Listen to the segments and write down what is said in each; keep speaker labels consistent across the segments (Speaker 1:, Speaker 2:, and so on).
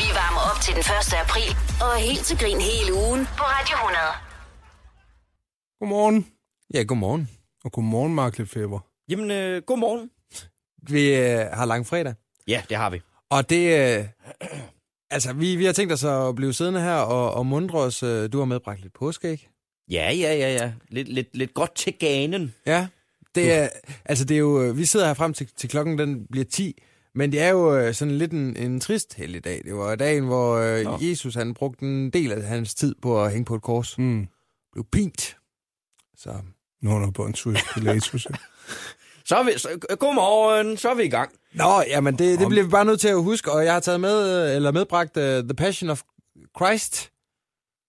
Speaker 1: Vi varmer op til den 1. april og er helt til grin hele ugen på Radio 100.
Speaker 2: Godmorgen,
Speaker 3: Ja, godmorgen.
Speaker 2: og godmorgen, Mark Lefebvre.
Speaker 3: Jamen, øh, godmorgen. Vi øh, har langfredag,
Speaker 4: Ja, det har vi.
Speaker 3: og det... Øh, altså, vi, vi har tænkt os at blive siddende her og, og mundre os. Øh, du har medbragt lidt påskeæg.
Speaker 4: Ja, ja, ja, ja. Lidt, lidt, lidt godt til ganen.
Speaker 3: Ja, det er, altså det er jo, øh, vi sidder her frem til, til klokken, den bliver 10, men det er jo øh, sådan lidt en, en trist helligdag. Det var dagen, hvor
Speaker 4: Nå.
Speaker 3: øh, Jesus han brugte en del af hans tid på at hænge på et kors.
Speaker 2: Mm.
Speaker 3: Blev pint. Så
Speaker 2: Nu er du på en tur i Pilatus. ja.
Speaker 4: Så er vi, så, øh, godmorgen, så er vi i gang.
Speaker 3: Nå, jamen det, det bliver vi bare nødt til at huske, og jeg har taget med, øh, eller medbragt uh, The Passion of Christ.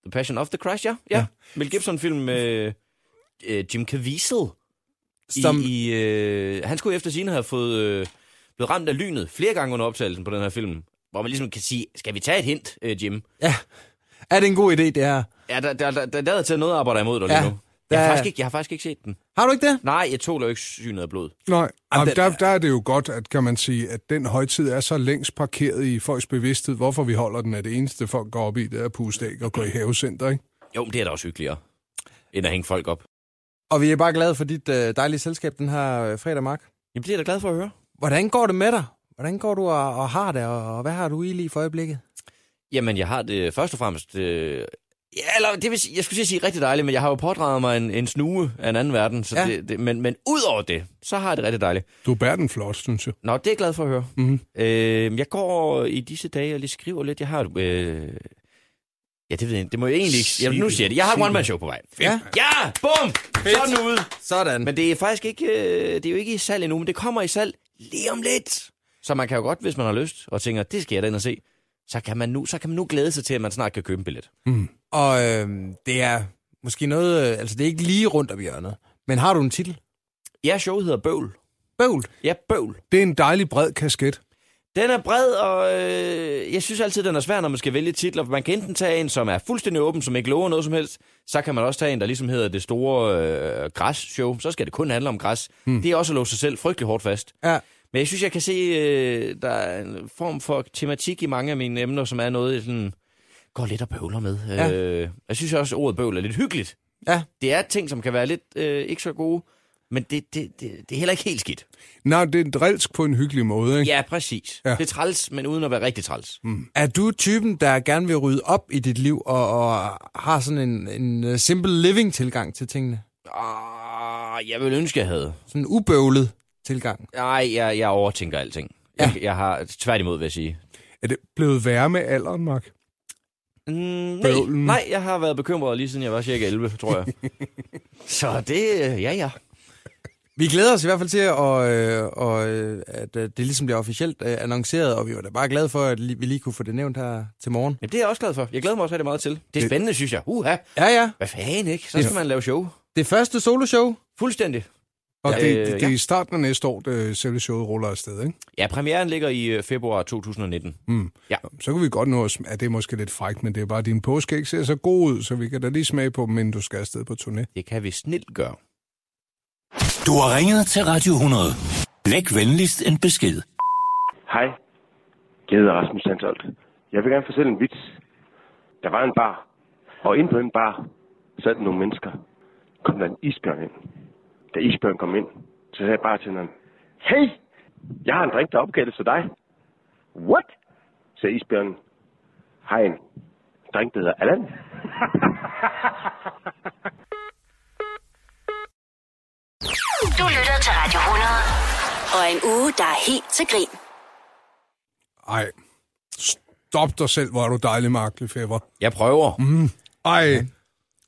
Speaker 4: The Passion of the Christ, ja. ja. Mel Gibson-film med øh, Jim Caviezel.
Speaker 3: Som-
Speaker 4: Som... I, i, øh, han skulle efter sine have fået øh, blevet ramt af lynet flere gange under optagelsen på den her film. Hvor man ligesom kan sige, skal vi tage et hint, øh, Jim?
Speaker 3: Ja, er det en god idé, det her?
Speaker 4: Ja, der, der, der, der, der er til noget arbejder imod dig lige
Speaker 3: Ja,
Speaker 4: nu.
Speaker 3: der
Speaker 4: Jeg har,
Speaker 3: er-
Speaker 4: faktisk ikke, jeg har faktisk ikke set den.
Speaker 3: Har du ikke det?
Speaker 4: Nej, jeg tåler jo ikke synet af blod.
Speaker 2: Nej, Jamen,
Speaker 3: den-
Speaker 2: der, der er det jo godt, at kan man sige, at den højtid er så længst parkeret i folks bevidsthed. Hvorfor vi holder den, er det eneste, folk går op i, det er at puste æg og gå i havecenter, ikke?
Speaker 4: Jo, men det er da også hyggeligere, end at hænge folk op.
Speaker 3: Og vi er bare glade for dit uh, dejlige selskab den her øh, fredag, Mark.
Speaker 4: Jamen, det er jeg da glad for at høre.
Speaker 3: Hvordan går det med dig? Hvordan går du og, og har det, og, og hvad har du i lige for øjeblikket?
Speaker 4: Jamen, jeg har det først og fremmest... Øh, ja, eller det vil sige, jeg skulle til at sige rigtig dejligt, men jeg har jo pådraget mig en, en snue af en anden verden. Så
Speaker 3: Ja.
Speaker 4: ja. det, det, men, men ud over det, så har jeg det rigtig dejligt.
Speaker 2: Du bærer den flot, synes jeg.
Speaker 4: Nå, det er jeg glad for at høre.
Speaker 2: Mhm.
Speaker 4: Øh, jeg går i disse dage og lige skriver lidt. Jeg har... Øh, ja, det ved jeg ikke. Det må jeg egentlig ikke... Jamen, nu siger jeg det. Jeg har et one-man-show på vej.
Speaker 3: Ja.
Speaker 4: Ja! Bum! Sådan ude!
Speaker 3: Sådan. Men,
Speaker 4: Men det er faktisk ikke... Øh, det er jo ikke i salg endnu, men det kommer i salg lige om lidt. Så man kan jo godt, hvis man har lyst, og tænker, det skal jeg da ind og se, så kan, man nu, så kan man nu glæde sig til, at man snart kan købe en billet.
Speaker 3: og øh, det er måske noget, øh, altså det er ikke lige rundt om hjørnet, men har du en titel?
Speaker 4: Ja, showet hedder Bøvl.
Speaker 3: Bøvl.
Speaker 4: Ja, Bøvl.
Speaker 2: Det er en dejlig bred kasket.
Speaker 4: Den er bred, og øh, jeg synes altid, den er svær, når man skal vælge titler. For man kan enten tage en, som er fuldstændig åben, som ikke lover noget som helst. Så kan man også tage en, der ligesom hedder det store øh, græs-show. Så skal det kun handle om græs. Hmm. Det er også at låse sig selv frygtelig hårdt fast.
Speaker 3: Ja.
Speaker 4: Men jeg synes, jeg kan se, øh, der er en form for tematik i mange af mine emner, som er noget, jeg sådan, går lidt og bøvler med.
Speaker 3: Ja.
Speaker 4: Ja. Øh, jeg synes også, at ordet bøvl er lidt hyggeligt.
Speaker 3: Ja.
Speaker 4: Det er ting, som kan være lidt øh, ikke så gode, men det, det, det, det er heller ikke helt skidt.
Speaker 2: Nej, det er en drilsk på en hyggelig måde, ikke?
Speaker 4: Ja, præcis.
Speaker 2: Ja.
Speaker 4: Ja. Det er træls, men uden at være rigtig træls. Mm.
Speaker 3: Er du typen, der gerne vil rydde op i dit liv og, og har sådan en, en øh, simple living tilgang til tingene?
Speaker 4: Ah, jeg ville ønske, jeg havde.
Speaker 3: Sådan en ubøvlet tilgang?
Speaker 4: Nej, jeg, jeg overtænker alting.
Speaker 3: Ja.
Speaker 4: Ja. Jeg, jeg har tværtimod, vil jeg sige.
Speaker 2: Er det blevet værre med alderen, Mark?
Speaker 4: Mm, nej,
Speaker 2: Bøvlen.
Speaker 4: nej, jeg har været bekymret lige siden jeg var cirka 11, tror jeg. så det, øh, ja ja.
Speaker 3: Vi glæder os i hvert fald til, og, øh, og, øh, at øh, det ligesom bliver officielt øh, annonceret, og vi var da bare glade for, at li- vi lige kunne få det nævnt her til morgen.
Speaker 4: Jamen, det er jeg også glad for. Jeg glæder mig også rigtig meget til. Det er spændende, synes jeg. Uha,
Speaker 3: Ja, ja.
Speaker 4: hvad fanden ikke? Så skal man lave show.
Speaker 3: Det første soloshow.
Speaker 4: Fuldstændig.
Speaker 2: Og
Speaker 4: Ja,
Speaker 2: ja, det,
Speaker 4: øh,
Speaker 2: det, det er i starten af næste år, det selve showet ruller afsted, ikke?
Speaker 4: Ja, premieren ligger i øh, februar 2019.
Speaker 2: Mm.
Speaker 4: Ja.
Speaker 2: Så kan vi godt nå os, at det er måske lidt frækt, men det er bare, at din påske ikke ser så god ud, så vi kan da lige smage på dem, inden du skal afsted på turné.
Speaker 4: Det kan vi snilt gøre.
Speaker 5: Du har ringet til Radio 100. Læg venligst en besked.
Speaker 6: Hej, jeg hedder Rasmus Sandholt. Jeg vil gerne fortælle en vits. Der var en bar, og inde på den bar sad der nogle mennesker. Kom der en isbjørn ind. Da isbjørn kom ind, så sagde bartenderen, Hey, jeg har en drink, der er opkaldt til dig. What? sagde isbjørnen. Hej, en drink, der hedder Allan.
Speaker 1: Du lytter til Radio 100 og en uge, der er helt til grin.
Speaker 2: Ej, stop dig selv, hvor er du dejlig, Mark Lefebvre.
Speaker 4: Jeg prøver. Mm.
Speaker 2: Ej,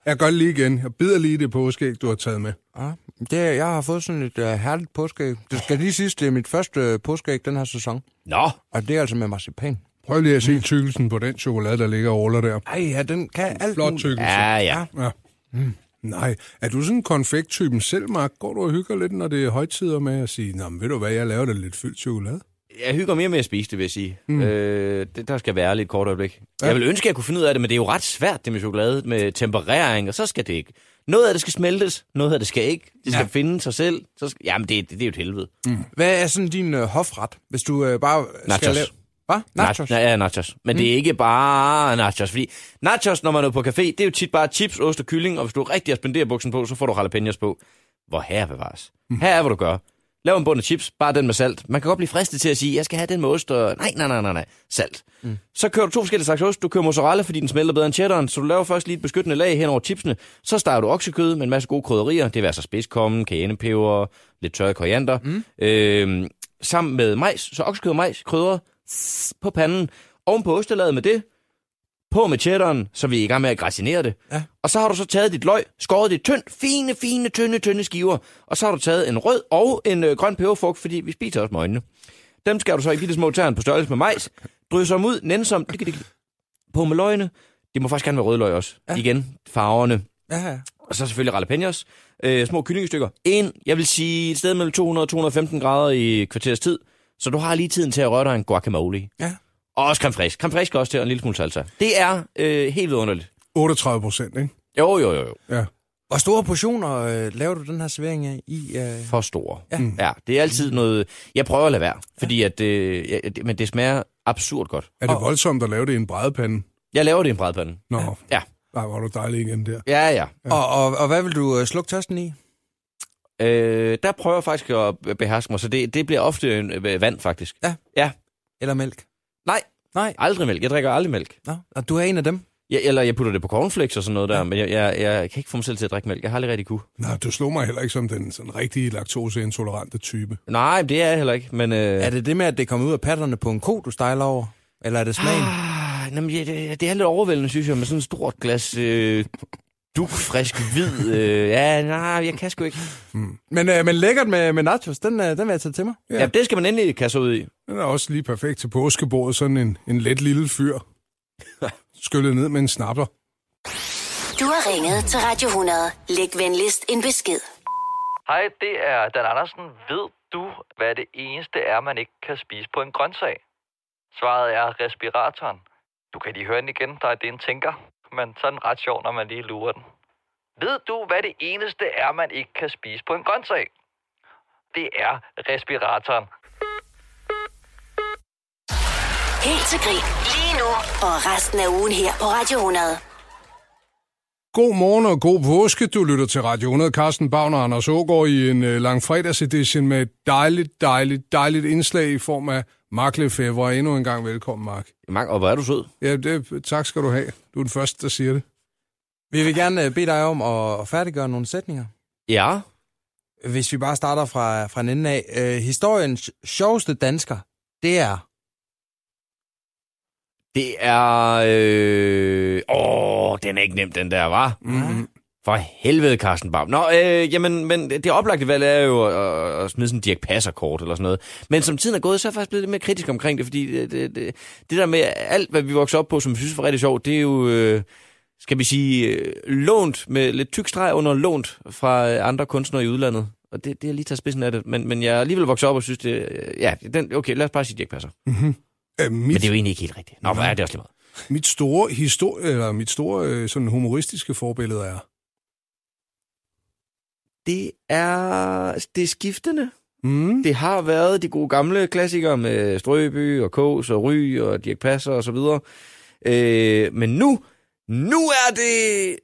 Speaker 2: jeg gør det lige igen. Jeg bider lige i det påskeæg, du har taget med.
Speaker 3: Ja, det, jeg har fået sådan et uh, herligt påskeæg. Det skal lige siges, det er mit første uh, påskeæg den her sæson.
Speaker 4: Nå,
Speaker 3: Og det er altså med marcipan.
Speaker 2: Prøv lige at se tykkelsen på den chokolade, der ligger og ruller der.
Speaker 3: Ej, ja, den kan alt
Speaker 2: Flot
Speaker 3: muligt.
Speaker 2: tykkelse.
Speaker 4: ja ja.
Speaker 2: ja. Mm. Nej, er du sådan en konfekttypen selv, Mark? Går du og hygger lidt, når det er højtider med at sige, Nå, men ved du hvad, jeg laver da lidt fyldt chokolade?
Speaker 4: Jeg hygger mere med at spise det, vil jeg sige. Mm. Øh, det, der skal være lidt kort øjeblik. Ja. Jeg vil ønske, at jeg kunne finde ud af det, men det er jo ret svært, det med chokolade, med temperering, og så skal det ikke. Noget af det skal smeltes, noget af det skal ikke. Det skal ja. finde sig selv. Så skal, jamen, det, det, det er jo et helvede.
Speaker 3: Hvad er sådan din uh, hofret, øh, hvis du uh, bare skal
Speaker 4: Nachos.
Speaker 3: lave... Hvad? Nachos?
Speaker 4: Nachos. Ja, nachos. Men mm. det er ikke bare nachos, fordi nachos, når man er på café, det er jo tit bare chips, ost og kylling, og hvis du rigtig har spenderbuksen på, så får du jalapenos på. Hvor her bevares. Mm. Her er, hvad du gør. Lav en bund af chips, bare den med salt. Man kan godt blive fristet til at sige, jeg skal have den med ost og... Nej, nej, nej, nej, nej. Salt. Mm. Så kører du to forskellige slags ost. Du kører mozzarella, fordi den smelter bedre end cheddaren, så du laver først lige et beskyttende lag hen over chipsene. Så starter du oksekød med en masse gode krydderier. Det vil altså spidskommen, cayennepeber, lidt tørre koriander. Mm. Øhm, sammen med majs, så oksekød og majs, krydder på panden. Oven på ostelaget med det, på med cheddaren, så vi er i gang med at gratinere det. Ja. Og så har du så taget dit løg, skåret det tyndt, fine, fine, tynde, tynde skiver. Og så har du taget en rød og en øh, grøn peberfrugt, fordi vi spiser også med øjnene. Dem skal du så i bitte små tern på størrelse med majs. Drysser dem ud, nænsomt, dik, dik, dik, på med løgene. Det må faktisk gerne være rødløg også. Ja. Igen, farverne.
Speaker 3: Ja, ja.
Speaker 4: Og så selvfølgelig jalapenos. Øh, små kyllingestykker. En, jeg vil sige, et sted mellem 200 og 215 grader i et kvarters tid. Så du har lige tiden til at røre dig en guacamole.
Speaker 3: ja.
Speaker 4: Og også creme fraiche. Creme fraiche skal også til, og en lille smule salsa. Det er øh, helt vidunderligt.
Speaker 2: 38 procent, ikke?
Speaker 4: Jo, jo, jo, jo.
Speaker 2: Ja.
Speaker 3: Hvor store portioner øh, laver du den her servering af i? Øh...
Speaker 4: For store. Ja. ja. Det er altid noget... Jeg prøver at lade være, fordi at, øh, jeg, det, men det smager absurd godt.
Speaker 2: Er det voldsomt at lave det i en brædepande?
Speaker 4: Jeg laver det i en brædpande.
Speaker 2: Nå, ja.
Speaker 4: Ja,
Speaker 2: Ej, hvor er du dejlig igen der.
Speaker 4: ja, ja.
Speaker 3: Og, og, og hvad vil du øh, slukke tørsten i?
Speaker 4: Øh, der prøver jeg faktisk at beherske mig, så det, det bliver ofte en, øh, vand, faktisk.
Speaker 3: Ja.
Speaker 4: Ja.
Speaker 3: Eller mælk?
Speaker 4: Nej,
Speaker 3: Nej.
Speaker 4: aldrig mælk. Jeg drikker aldrig mælk.
Speaker 3: Nå, og du er en af dem.
Speaker 4: Jeg, eller jeg putter det på cornflakes og sådan noget der, ja. men jeg, jeg, jeg kan ikke få mig selv til at drikke mælk. Jeg har aldrig rigtig kunne.
Speaker 2: Nej, du slog mig heller ikke som den sådan rigtige laktoseintolerante type.
Speaker 4: Nej, det er jeg heller ikke, men... Øh,
Speaker 3: Er det det med, at det kommer ud af patterne på en ko, du stejler over? Eller er det smagen?
Speaker 4: Ah, jamen, ja, det, det er lidt overvældende, synes jeg, med sådan et stort glas øh, dugfrisk hvid. Øh, ja, nej, jeg kan sgu ikke.
Speaker 3: Men, øh, men lækkert med, med nachos, den, øh, den vil jeg tage til mig.
Speaker 4: Ja. ja, det skal man endelig kasse ud i.
Speaker 2: Den er også lige perfekt til påskebordet, sådan en, en let lille fyr. Skyllet ned med en snapper.
Speaker 1: Du har ringet til Radio 100. Læg venligst en besked.
Speaker 7: Hej, det er Dan Andersen. Ved du, hvad det eneste er, man ikke kan spise på en grøntsag? Svaret er respiratoren. Du kan lige høre den igen, der er det en tænker. Men sådan ret sjov, når man lige lurer den. Ved du, hvad det eneste er, man ikke kan spise på en grøntsag? Det er respiratoren.
Speaker 1: Helt til grin. Lige nu. Og resten af ugen her på Radio 100.
Speaker 2: God morgen og god påske. Du lytter til Radio 100. Carsten Bavn og Anders Ågaard i en øh, langfredagsedition med et dejligt, dejligt, dejligt indslag i form af Mark Lefebvre. Endnu en gang velkommen, Mark.
Speaker 4: Mark, og hvor er du sød.
Speaker 2: Ja, det, tak skal du have. Du er den første, der siger det.
Speaker 3: Vi vil gerne øh, bede dig om at færdiggøre nogle sætninger.
Speaker 4: Ja.
Speaker 3: Hvis vi bare starter fra, fra en ende af. Øh, historiens sjoveste dansker, det er...
Speaker 4: Det er... Øh... Åh, den er ikke nem, den der, var. Mm-hmm. For helvede, Carsten Baum. Nå, øh, jamen, men det oplagte valg er jo at, at smide sådan en Dirk Passer-kort eller sådan noget. Men som tiden er gået, så er jeg faktisk blevet lidt mere kritisk omkring det, fordi det, det, det, det der med alt, hvad vi voksede op på, som vi synes var rigtig sjovt, det er jo, øh, skal vi sige, øh, lånt med lidt tyk streg under lånt fra øh, andre kunstnere i udlandet. Og det, det har lige taget spidsen af det, men, men jeg er alligevel vokset op og synes, det, øh, ja, den, okay, lad os bare sige Dirk Passer.
Speaker 2: Æh,
Speaker 4: Men
Speaker 2: mit,
Speaker 4: det er jo egentlig ikke helt rigtigt. Nå, hvor er det også lige meget.
Speaker 2: mit store, histori- eller mit store øh, sådan humoristiske forbillede er...
Speaker 4: Det er, det er skiftende.
Speaker 2: Mm.
Speaker 4: Det har været de gode gamle klassikere med Strøby og Kås og Ry og Dirk Passer og så videre. Øh, men nu, nu er det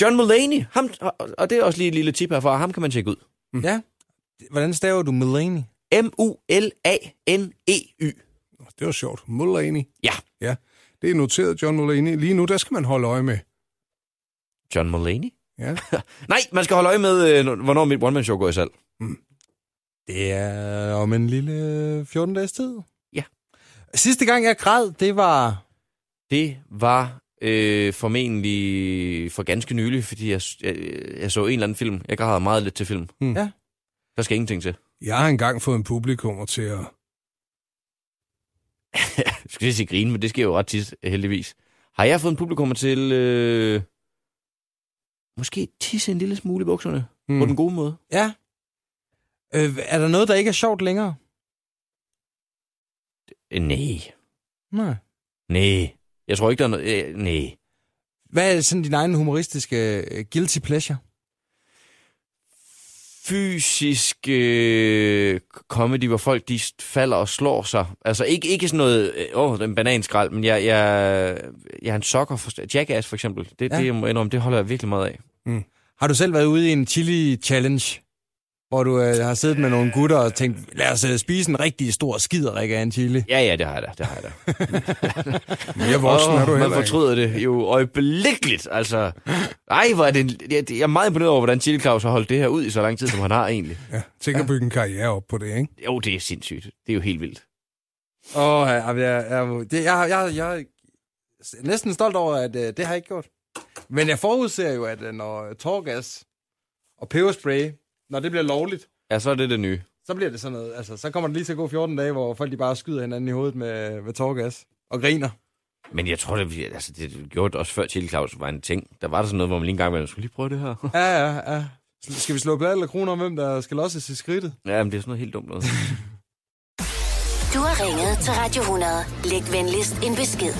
Speaker 4: John Mulaney. Ham, og- og det er også lige et lille tip herfra. Ham kan man tjekke ud.
Speaker 3: Mm. Ja. Hvordan staver du Mulaney?
Speaker 4: M-U-L-A-N-E-Y.
Speaker 2: Det var sjovt. Mulaney.
Speaker 4: Ja,
Speaker 2: Ja, det er noteret, John Mulaney. Lige nu, der skal man holde øje med.
Speaker 4: John Mulaney.
Speaker 2: Ja.
Speaker 4: Nej, man skal holde øje med, øh, hvornår mit one-man-show går i salg.
Speaker 3: Det er om en lille 14 dages tid.
Speaker 4: Ja.
Speaker 3: Sidste gang jeg græd, det var...
Speaker 4: Det var øh, formentlig for ganske nylig, fordi jeg, jeg, jeg så en eller anden film. Jeg græder meget lidt til film.
Speaker 2: Hmm.
Speaker 3: Ja.
Speaker 4: Der skal ingenting til.
Speaker 2: Jeg har engang fået en publikummer til at...
Speaker 4: Jeg skal lige sige grine, men det sker jo ret tit, heldigvis. Har jeg fået en publikum til... Øh, måske tisse en lille smule i bukserne? Mm. På den gode måde.
Speaker 3: Ja. Øh, er der noget, der ikke er sjovt længere?
Speaker 4: Øh, nej.
Speaker 3: Nej.
Speaker 4: Nej. Jeg tror ikke, der er noget... Øh, nej.
Speaker 3: Hvad er sådan din egen humoristiske øh, guilty pleasure?
Speaker 4: fysisk øh, comedy, hvor folk de falder og slår sig. Altså ikke, ikke sådan noget, øh, åh, den bananskrald, men jeg, jeg, jeg er en sokker for Jackass for eksempel. Det,
Speaker 3: Ja.
Speaker 4: ja. det, jeg må indrømme, det holder jeg virkelig meget af.
Speaker 3: Har du selv været ude i en chili-challenge, hvor du øh, har siddet med nogle gutter og tænkt, lad os øh, spise en rigtig stor skiderik af en chili?
Speaker 4: Ja, ja, det har jeg da, det har jeg da.
Speaker 2: Mere voksen oh, er du
Speaker 4: man
Speaker 2: heller ikke.
Speaker 4: fortryder det jo øjeblikkeligt, altså. Ej, hvor er det... Jeg, jeg er meget imponeret over, hvordan Chili Claus har holdt det her ud i så lang tid, som han har egentlig.
Speaker 2: Ja, tænk at bygge en karriere op på det, ikke?
Speaker 4: Jo, det er sindssygt. Det er jo helt vildt.
Speaker 3: Åh, oh, jeg, jeg, jeg, det- jeg, jeg, jeg er næsten stolt over, at øh, det har jeg ikke gjort. Men jeg forudser jo, at øh, når torgas og peberspray, når det bliver lovligt,
Speaker 4: Ja, så er det det nye.
Speaker 3: så bliver det sådan noget. Altså, så kommer det lige til at gå 14 dage, hvor folk de bare skyder hinanden i hovedet med, med torgas og griner.
Speaker 4: Men jeg tror, det, vi- altså, det gjorde det også før Chili Claus var en ting. Der var der sådan noget, hvor man lige engang ville, skulle lige prøve det her.
Speaker 3: Ja, ja, ja. Sl- Skal vi slå blad eller kroner om, hvem der skal losses i skridtet?
Speaker 4: ja, men det er sådan noget helt dumt noget.
Speaker 1: Du har ringet til Radio 100. Læg venligst en besked.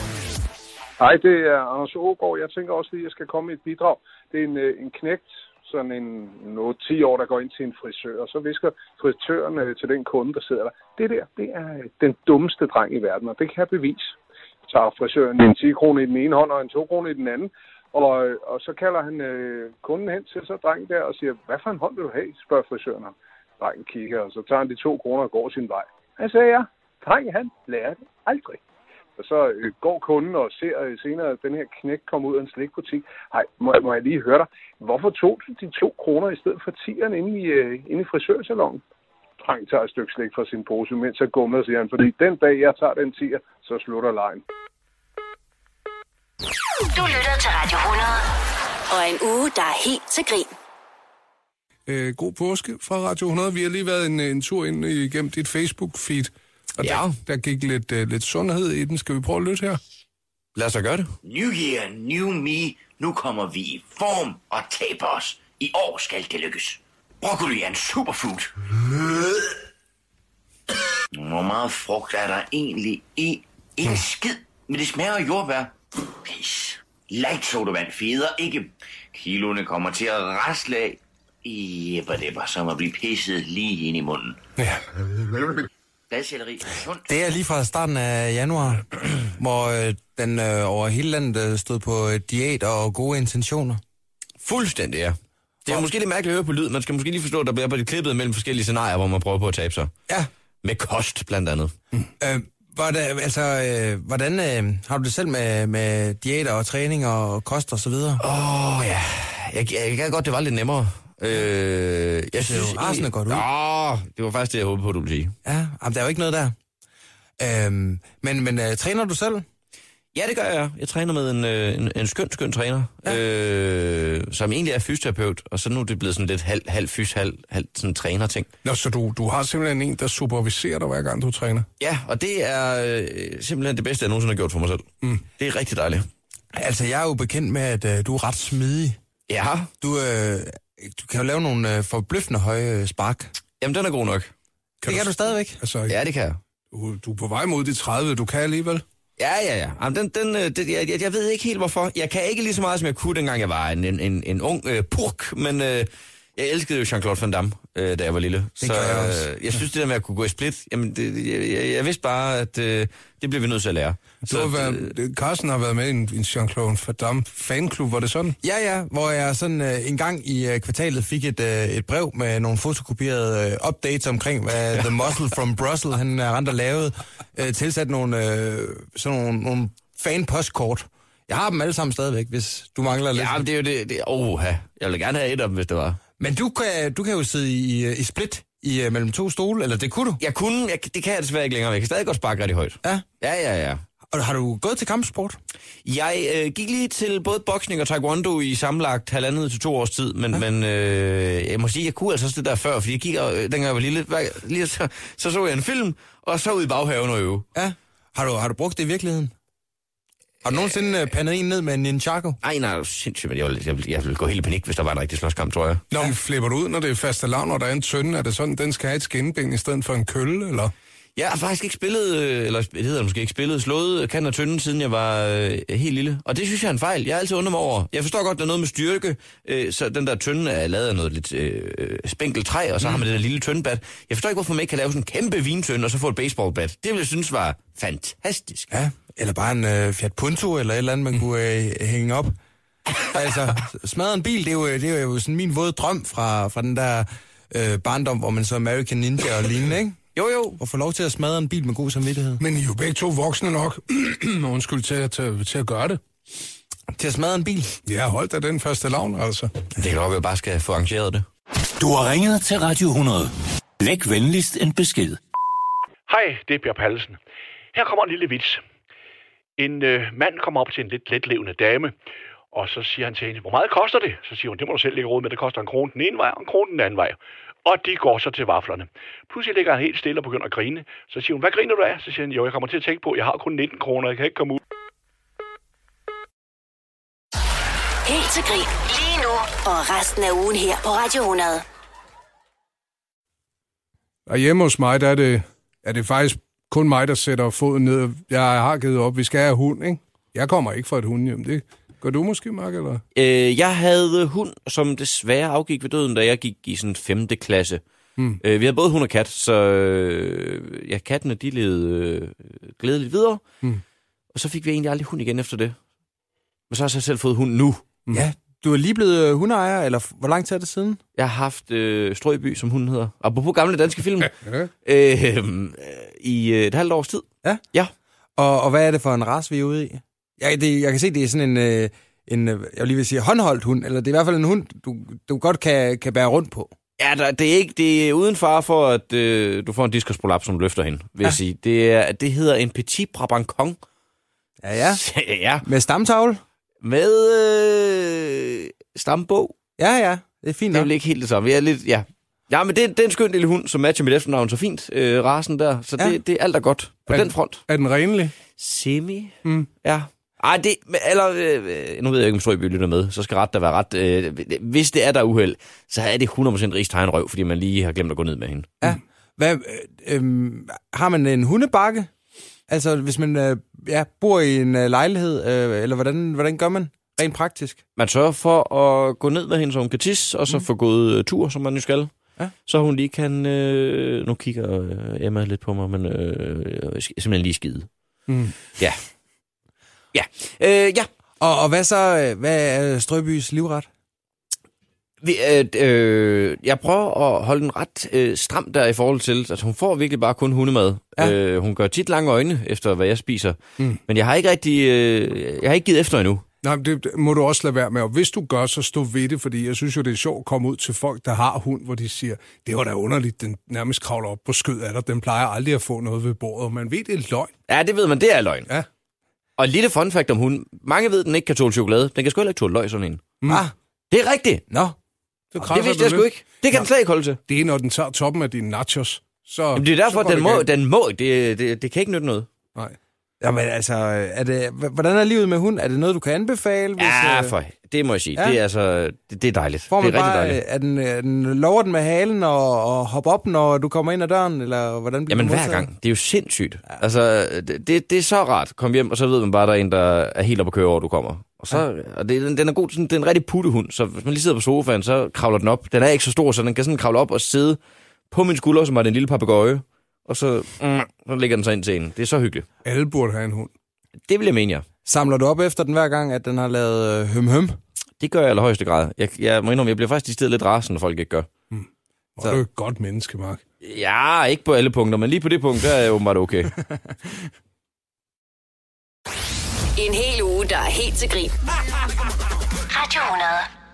Speaker 8: Hej, det er Anders Ågaard. Jeg tænker også lige, at jeg skal komme med et bidrag. Det er en, øh, en knægt, sådan en en 8-10 år, der går ind til en frisør, og så visker frisøren øh, til den kunde, der sidder der. Det der, det er øh, den dummeste dreng i verden, og det kan jeg bevise. Tager frisøren en 10 kroner i den ene hånd og en 2 kroner i den anden, og, øh, og så kalder han øh, kunden hen til så drengen der og siger, hvad for en hånd vil du have, spørger frisøren ham. Drengen kigger, og så tager han de 2 kroner og går sin vej. Han sagde, ja, drengen han lærer det aldrig. Og så øh, går kunden og ser øh, senere, at den her knæk kommer ud af en slikbutik. Hej, må, jeg- må jeg lige høre dig. Hvorfor tog du de to kroner i stedet for tieren inde i, øh, inde i frisørsalongen? Dreng tager et stykke slik fra sin pose, mens jeg går med, siger han. Fordi den dag, jeg tager den tier, så slutter lejen.
Speaker 1: Du lytter til Radio 100. Og en uge, der er helt til grin.
Speaker 2: Øh, god påske fra Radio 100. Vi har lige været en, en tur ind øh, igennem dit Facebook-feed. Og ja. der, der gik lidt, uh, lidt sundhed i den. Skal vi prøve at lytte her?
Speaker 4: Lad os da gøre det.
Speaker 5: New year, new me. Nu kommer vi i form og taber os. I år skal det lykkes. Broccoli er en superfood. Hvor meget frugt er der egentlig i? Ikke skid, men det smager af jordbær. Pis. Light sodavand feder ikke. Kiloene kommer til at rasle af. Jepper det var som at blive pisset lige ind i munden.
Speaker 2: Ja.
Speaker 5: Bladcelleri er sundt.
Speaker 3: Det er lige fra starten af januar, hvor øh, den øh, over hele landet øh, stod på øh, diæt og gode intentioner.
Speaker 4: Fuldstændig, ja. Det er måske lidt mærkeligt at høre på lyd. Man skal måske lige forstå, at der bliver på det klippet mellem forskellige scenarier, hvor man prøver på at tabe sig.
Speaker 3: Ja,
Speaker 4: Med kost, blandt andet.
Speaker 3: Øh, hvordan, altså, øh, hvordan øh, har du det selv med, med diæter og træning og kost og så videre? Oh,
Speaker 4: Åh oh, ja, jeg, jeg, jeg gad godt, det var lidt nemmere. Øh, jeg synes,
Speaker 3: jo rasende godt ud.
Speaker 4: Nå, det var faktisk det, jeg håbede på, du ville sige.
Speaker 3: ja, jamen, der er jo ikke noget der. Øh, men men øh, træner du selv?
Speaker 4: Ja, det gør jeg. Jeg træner med en, øh, en, en skøn, skøn træner, ja. øh, som egentlig er fysioterapeut, og så nu er det blevet sådan lidt halv, halv fys, halv, halv sådan træner-ting.
Speaker 2: Nå, så du, du har simpelthen en, der superviserer dig, hver gang du træner.
Speaker 4: Ja, og det er øh, simpelthen det bedste, jeg nogensinde har gjort for mig selv. Mm. Det er rigtig dejligt.
Speaker 3: Altså, jeg er jo bekendt med, at øh, du er ret smidig.
Speaker 4: Ja,
Speaker 3: Du, øh, du kan jo lave nogle øh, forbløffende høje øh, spark. Kan
Speaker 4: jamen den er god nok.
Speaker 3: det kan du, stadigvæk.
Speaker 2: Altså, ja.
Speaker 4: Ja, det kan jeg.
Speaker 2: du, du er på vej mod de 30, du kan alligevel.
Speaker 4: Ja, ja, ja. Jamen, den, den, øh, det, jeg, jeg- jeg ved ikke helt, hvorfor. Jeg kan ikke lige så meget, som jeg kunne, dengang jeg var en, en, en, en ung øh, purk, men øh, jeg elskede jo Jean-Claude Van Damme, øh, da jeg var lille. så
Speaker 3: gjorde jeg også.
Speaker 4: øh, jeg synes, det der med at kunne gå i split, jamen, det, det- jeg, jeg, jeg vidste bare, at øh, det bliver vi nødt til at lære.
Speaker 2: Du har været, det- Carsten har været med i en, en Jean-Claude Van Damme fanklub, var det sådan?
Speaker 3: Ja, ja, hvor jeg sådan øh, en gang i øh, kvartalet fik et, øh, et brev med nogle fotokopierede øh, updates omkring, hvad The Muscle from Brussels, han er rent og lavede, øh, tilsat nogle, øh, sådan nogle, nogle fan-postkort. Jeg har dem alle sammen stadigvæk, hvis du mangler lidt.
Speaker 4: Ja, men det er jo det. det oh, jeg ville gerne have et af dem, hvis det var.
Speaker 3: Men du kan, du kan jo sidde i, øh, i split i, øh, mellem to stole, eller det kunne du.
Speaker 4: Jeg kunne, jeg, det kan jeg desværre ikke længere, men jeg kan stadig godt sparke rigtig højt.
Speaker 3: Ja.
Speaker 4: Ja, ja, ja.
Speaker 3: Og har du gået til kampsport?
Speaker 4: Jeg øh, gik lige til både boksning og taekwondo i sammenlagt halvandet til to års tid, men, ja. men øh, jeg må sige, jeg kunne altså også det der før, fordi jeg gik, og, øh, dengang jeg var lille, hver, lige så, så så jeg en film, og så ud i baghaven og øve.
Speaker 3: Ja. Har du, har du brugt det i virkeligheden? Har du nogensinde øh, pandet en ned med en Ninjago?
Speaker 4: Ej, nej, det er sindssygt, men jeg ville, jeg, ville, jeg ville gå helt i panik, hvis der var en rigtig slåskamp, tror jeg.
Speaker 2: Nå, men flipper du ud, når det er faste lav, når der er en tønde? Er det sådan, den skal have et skinneben i stedet for en kølle, eller?
Speaker 4: Jeg har faktisk ikke spillet, øh, eller det hedder det måske ikke spillet, slået øh, kan og tynde, siden jeg var øh, helt lille. Og det synes jeg er en fejl. Jeg er altid undret mig over. Jeg forstår godt, der er noget med styrke, øh, så den der tynde er lavet af noget lidt øh, spinkelt træ, og så mm. har man det der lille tyndbat. Jeg forstår ikke, hvorfor man ikke kan lave sådan en kæmpe vintønde, og så få et baseballbat. Det ville jeg synes var fantastisk.
Speaker 3: Ja, eller bare en øh, Fiat Punto, eller et eller andet, man kunne øh, hænge op. altså, smadre en bil, det er jo, det er jo sådan min våde drøm fra, fra den der øh, barndom, hvor man så American Ninja og lignende, ikke?
Speaker 4: Jo, jo.
Speaker 3: Og få lov til at smadre en bil med god samvittighed.
Speaker 2: Men I er jo begge to voksne nok, undskyld, til at, til, til at gøre det.
Speaker 3: Til at smadre en bil.
Speaker 2: Ja, hold da den første lavn, altså.
Speaker 4: Det kan godt være, at jeg bare skal få arrangeret det.
Speaker 9: Du har ringet til Radio 100. Læg venligst en besked.
Speaker 10: Hej, det er Bjørn Pallesen. Her kommer en lille vits. En øh, mand kommer op til en lidt letlevende dame, og så siger han til hende, hvor meget koster det? Så siger hun, det må du selv lægge råd med, det koster en krone den ene vej og en krone den anden vej. Og de går så til vaflerne. Pludselig ligger han helt stille og begynder at grine. Så siger hun, hvad griner du af? Så siger han, jo, jeg kommer til at tænke på, jeg har kun 19 kroner, jeg kan ikke komme ud.
Speaker 1: Helt til grin. Lige nu. Og resten af ugen her på Radio 100.
Speaker 2: Og hjemme hos mig, der er det, er det faktisk kun mig, der sætter foden ned. Jeg har givet op, vi skal have hund, ikke? Jeg kommer ikke fra et hundhjem, det gør du måske, Mark, eller?
Speaker 4: Øh, jeg havde hund, som desværre afgik ved døden, da jeg gik i sådan 5. klasse.
Speaker 3: Hmm.
Speaker 4: Mm. Øh, vi havde både hund og kat, så øh, ja, kattene de levede øh, glædeligt videre.
Speaker 3: Hmm.
Speaker 4: Mm. Og så fik vi egentlig aldrig hund igen efter det. Men så har jeg så selv fået hund nu.
Speaker 3: Mm. Ja, du er lige blevet øh, hundeejer, eller f- hvor lang tid er det siden?
Speaker 4: Jeg har haft øh, Strøby, som hunden hedder. Apropos gamle danske film. øh, øh, I øh, et halvt års tid.
Speaker 3: Ja?
Speaker 4: Ja.
Speaker 3: Og, og hvad er det for en race, vi er ude i? Jeg, det, jeg kan se, det er sådan en, øh, en, øh, jeg vil lige vil sige, håndholdt hund, eller det er i hvert fald en hund, du, du godt kan, kan bære rundt på.
Speaker 4: Ja, der, det er ikke det er uden far for, at øh, du får en diskusprolap, som løfter hende, vil ja. jeg sige. Det, er, det hedder en petit brabancon.
Speaker 3: Ja, ja.
Speaker 4: ja.
Speaker 3: Med stamtavle?
Speaker 4: Med øh, stambog.
Speaker 3: Ja, ja. Det er fint
Speaker 4: Det er
Speaker 3: nok.
Speaker 4: vel ikke helt det samme. Jeg er lidt, ja. Ja, men det, det er en skøn lille hund, som matcher mit efternavn så fint. Øh, rasen der. Så
Speaker 3: Ja.
Speaker 4: ja. det, det er alt er godt på
Speaker 2: Ja.
Speaker 4: den front.
Speaker 2: Er den renlig?
Speaker 4: Semi?
Speaker 2: Mm.
Speaker 4: Ja. Ej, det, men- eller, øh, nu ved jeg ikke, om Strøby lytter med, så skal ret der være ret. Øh, hvis det er der er uheld, så er det 100% Rigs tegnrøv, fordi man lige har glemt at gå ned med hende.
Speaker 3: Ja. Hvad, øh, øh, har man en hundebakke? Altså, hvis man øh, ja, bor i en øh, lejlighed, øh, eller hvordan, hvordan gør man rent praktisk?
Speaker 4: Man sørger for at gå ned med hende, så hun kan tisse, og så mm. få gået øh, tur, som man nu skal.
Speaker 3: Ja.
Speaker 4: Så hun lige kan... Øh, nu kigger øh, Emma lidt på mig, men øh, øh, simpelthen lige skide.
Speaker 2: Mm.
Speaker 4: Ja. Ja. Øh, ja.
Speaker 3: Og, og hvad så, øh, hvad er Strøbys livret?
Speaker 4: Vi, øh, øh, jeg prøver at holde den ret øh, stram der i forhold til, at altså, hun får virkelig bare kun hundemad.
Speaker 3: Ja.
Speaker 4: Ja. Øh, hun gør tit lange øjne efter, hvad jeg spiser.
Speaker 2: Mm.
Speaker 4: Mm. Men jeg har ikke rigtig, øh, jeg har ikke givet efter endnu.
Speaker 2: Nej, men det det må du også lade være med. Og hvis du gør, så stå ved det, fordi jeg synes jo, det er sjovt at komme ud til folk, der har hund, hvor de siger, det var da underligt, den nærmest kravler op på skød af dig. Den plejer aldrig at få noget ved bordet, og man ved, det er løgn.
Speaker 4: Ja, det ved man, det er løgn.
Speaker 2: Ja.
Speaker 4: Og et lille fun fact om hunden. Mange ved, den ikke kan tåle chokolade. Den kan sgu heller ikke tåle løg, sådan en.
Speaker 2: Mm.
Speaker 3: Ah,
Speaker 4: Det er rigtigt.
Speaker 3: nå.
Speaker 2: Så
Speaker 4: Det
Speaker 2: krasser
Speaker 4: vidste
Speaker 2: den
Speaker 4: jeg sgu
Speaker 2: lidt.
Speaker 4: ikke. Det kan den slet ikke holde til.
Speaker 2: Det er, når den tager toppen af dine nachos. Så,
Speaker 4: Jamen, det er derfor,
Speaker 2: så går
Speaker 4: den
Speaker 2: det
Speaker 4: må,
Speaker 2: galt.
Speaker 4: den må ikke. Det, det, det kan ikke nytte noget.
Speaker 2: Nej.
Speaker 3: Jamen altså, er det, h- hvordan er livet med hund? Er det noget, du kan anbefale? Hvis,
Speaker 4: Ja,
Speaker 3: øh,
Speaker 4: Ah, for, det må jeg sige.
Speaker 3: Ja.
Speaker 4: Ja. Det er altså, det, det er dejligt.
Speaker 3: Får man
Speaker 4: det er rigtig
Speaker 3: bare,
Speaker 4: dejligt.
Speaker 3: øh, er den, er den, lover den med halen og, og hopper op, når du kommer ind ad døren, eller hvordan bliver
Speaker 4: Jamen
Speaker 3: den
Speaker 4: hver
Speaker 3: modtaget?
Speaker 4: gang. Det er jo sindssygt. Ja. Altså, det, det, det er så rart. Kom hjem, og så ved man bare, at der er en, der er helt oppe at køre over, du kommer. Og, så, ja. og det, den, den er god, sådan, det er en rigtig puttehund, så hvis man lige sidder på sofaen, så kravler den op. Den er ikke så stor, så den kan sådan kravle op og sidde på min skulder, som var den lille papegøje. Og så, mm, så lægger den sig ind til en. Det er så hyggeligt.
Speaker 2: Alle burde have en hund.
Speaker 4: Det vil jeg mene, ja.
Speaker 3: Samler du op efter den hver gang, at den har lavet øh, høm-høm?
Speaker 4: Det gør jeg i allerhøjeste grad. Jeg, jeg må indrømme, jeg bliver faktisk i stedet lidt rasende, når folk ikke gør.
Speaker 2: Og
Speaker 3: Så-
Speaker 2: du er et godt menneske, Mark.
Speaker 4: Ja, ikke på alle punkter, men lige på det punkt, der er jeg åbenbart okay.
Speaker 1: En hel uge, der er helt til grin. Radio 100.